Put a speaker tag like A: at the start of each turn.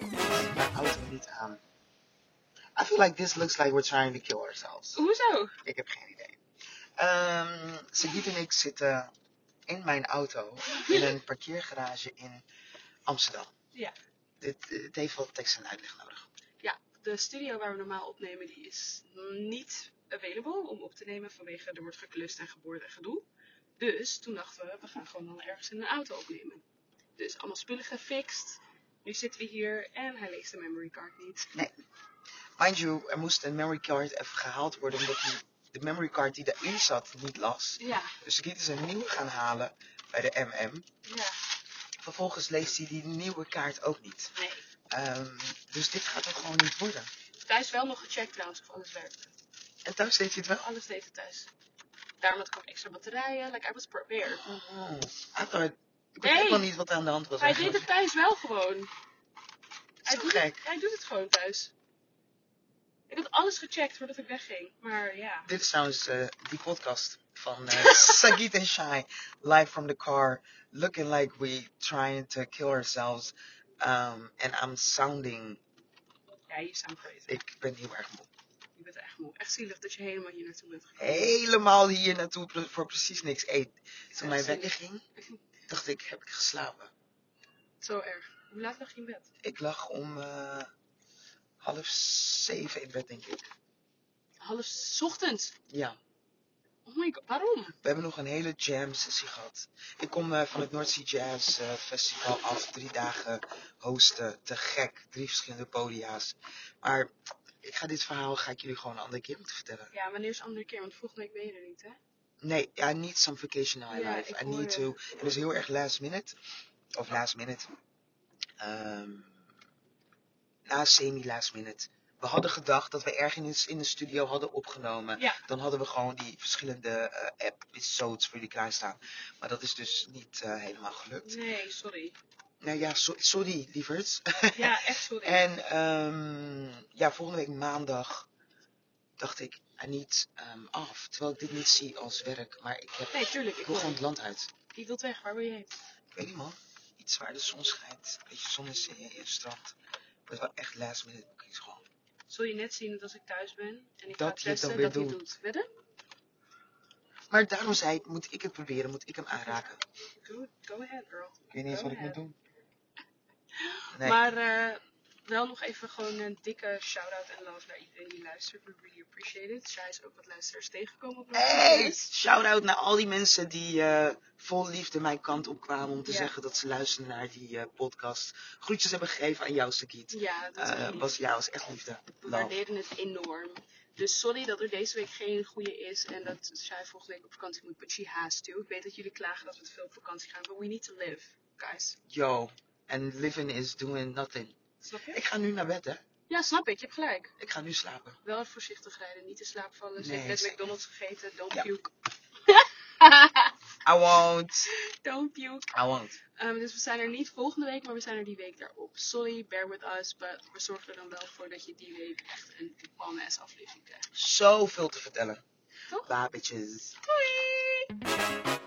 A: That houdt me niet aan. I feel like this looks like we're trying to kill ourselves.
B: Hoezo?
A: Ik heb geen idee. Ehm Sagit en ik zitten in mijn auto in een parkeergarage in Amsterdam.
B: Ja.
A: Dit, het heeft wel tekst en uitleg nodig.
B: De studio waar we normaal opnemen, die is niet available om op te nemen vanwege er wordt geklust en geboord en gedoe. Dus toen dachten we, we gaan gewoon dan ergens in een auto opnemen. Dus allemaal spullen gefixt. Nu zitten we hier en hij leest de memory card niet.
A: Mind you, er moest een memory card even gehaald worden omdat hij de memory card die daarin zat niet las.
B: Ja,
A: Dus Sagit is een nieuwe gaan halen bij de MM.
B: ja.
A: Vervolgens leest hij die nieuwe kaart ook niet.
B: Nee.
A: Ehm, dus dit gaat het gewoon niet worden.
B: Thuis wel nog gecheckt trouwens of alles werkte.
A: En thuis deed hij het wel.
B: Alles deed het thuis. Daarom had ik ook extra batterijen. Like, I was prepared.
A: Oh, I thought- ik weet
B: Nee.
A: helemaal niet wat er aan de hand was.
B: Hij deed
A: eigenlijk.
B: het thuis wel gewoon. Hij
A: Zo
B: doet,
A: gek.
B: het, hij doet het gewoon thuis. Ik had alles gecheckt voordat ik wegging. Maar ja.
A: Dit is trouwens eh, die podcast van eh Sagit en Shai. Live from the car. Looking like we trying to kill ourselves. Um, and I'm sounding...
B: Ja, je staat crazy.
A: Ik ben heel erg moe.
B: Je bent echt moe. Echt zielig dat je helemaal hier naartoe bent gekomen.
A: Helemaal hier naartoe pre- voor precies niks. Hey,
B: Echt
A: toen mijn
B: zielig.
A: wekker ging, dacht ik, heb ik geslapen.
B: Zo erg. Hoe laat lag je in bed?
A: Ik lag om eh, half zeven in bed, denk ik.
B: Half s ochtends.
A: Ja.
B: Oh my god, waarom?
A: We hebben nog een hele jam sessie gehad. Ik kom eh, van het North Sea Jazz eh, Festival af. Drie dagen hosten. Te gek. Drie verschillende podia's. Maar ik ga dit verhaal ga ik jullie gewoon een andere keer moeten vertellen.
B: Ja, wanneer is de andere keer? Want volgende week ben je er niet, hè?
A: Nee, I need some vacation in my
B: Ja,
A: life.
B: ik
A: I
B: hoor
A: need
B: je.
A: to. En dat is heel erg last minute. Of last minute. Ehm na semi last minute. We hadden gedacht dat we ergens in de studio hadden opgenomen.
B: Ja.
A: Dan hadden we gewoon die verschillende eh, episodes voor jullie klaarstaan. Maar dat is dus niet eh, helemaal gelukt.
B: Nee, sorry.
A: Nou ja, so- sorry lieverds.
B: Ja, echt sorry.
A: En ehm, ja, volgende week maandag dacht ik, I need ehm, af. Terwijl ik dit niet zie als werk, maar ik heb
B: Nee, tuurlijk. Ik
A: ik wil
B: wil,
A: gewoon het land uit.
B: ik wil weg. Waar wil je heen?
A: Ik weet niet man. Iets waar de zon schijnt. Een beetje zon in zee en strand. Wordt wel echt last minute bookings gewoon.
B: Zul je net zien dat als ik thuis ben en ik
A: Dat je
B: ga
A: het dan
B: testen
A: weer
B: dat hij
A: doet.
B: het doet. Wedden?
A: Maar daarom zei ik, moet ik het proberen, moet ik hem aanraken.
B: Go, go ahead, girl.
A: Ik weet niet eens wat ik moet doen. Nee,
B: Maar eh, wel nog even gewoon een dikke shout-out en love naar iedereen die luistert. We really appreciate it. Zij is ook wat luisteraars tegengekomen op
A: Hey,
B: podcast.
A: shout-out naar al die mensen die eh, vol liefde mijn kant op kwamen om te
B: Ja.
A: zeggen dat ze luisteren naar die eh, podcast. Groetjes hebben gegeven aan jou, Sakiet.
B: Ja, dat is
A: Eh,
B: lief.
A: was, ja, was echt liefde.
B: We
A: Love.
B: waarderen het enorm. Dus sorry dat er deze week geen goede is en dat zij volgende week op vakantie moet, but she has to. Ik weet dat jullie klagen dat we te veel op vakantie gaan, but we need to live, guys.
A: Yo, and living is doing nothing.
B: Snap je?
A: Ik ga nu naar bed, hè.
B: Ja, snap ik. Je hebt gelijk.
A: Ik ga nu slapen.
B: Wel voorzichtig rijden, niet in slaap vallen. Ze
A: Nee,
B: heeft net
A: zeker.
B: McDonald's gegeten, don't
A: Ja.
B: puke.
A: I won't.
B: don't puke.
A: I won't.
B: Ehm, dus we zijn er niet volgende week, maar we zijn er die week daarop. Sorry, bear with us, but we zorgen er dan wel voor dat je die week echt een man-ass aflevering krijgt.
A: Zoveel te vertellen.
B: Toch?
A: Babetjes.
B: Doei!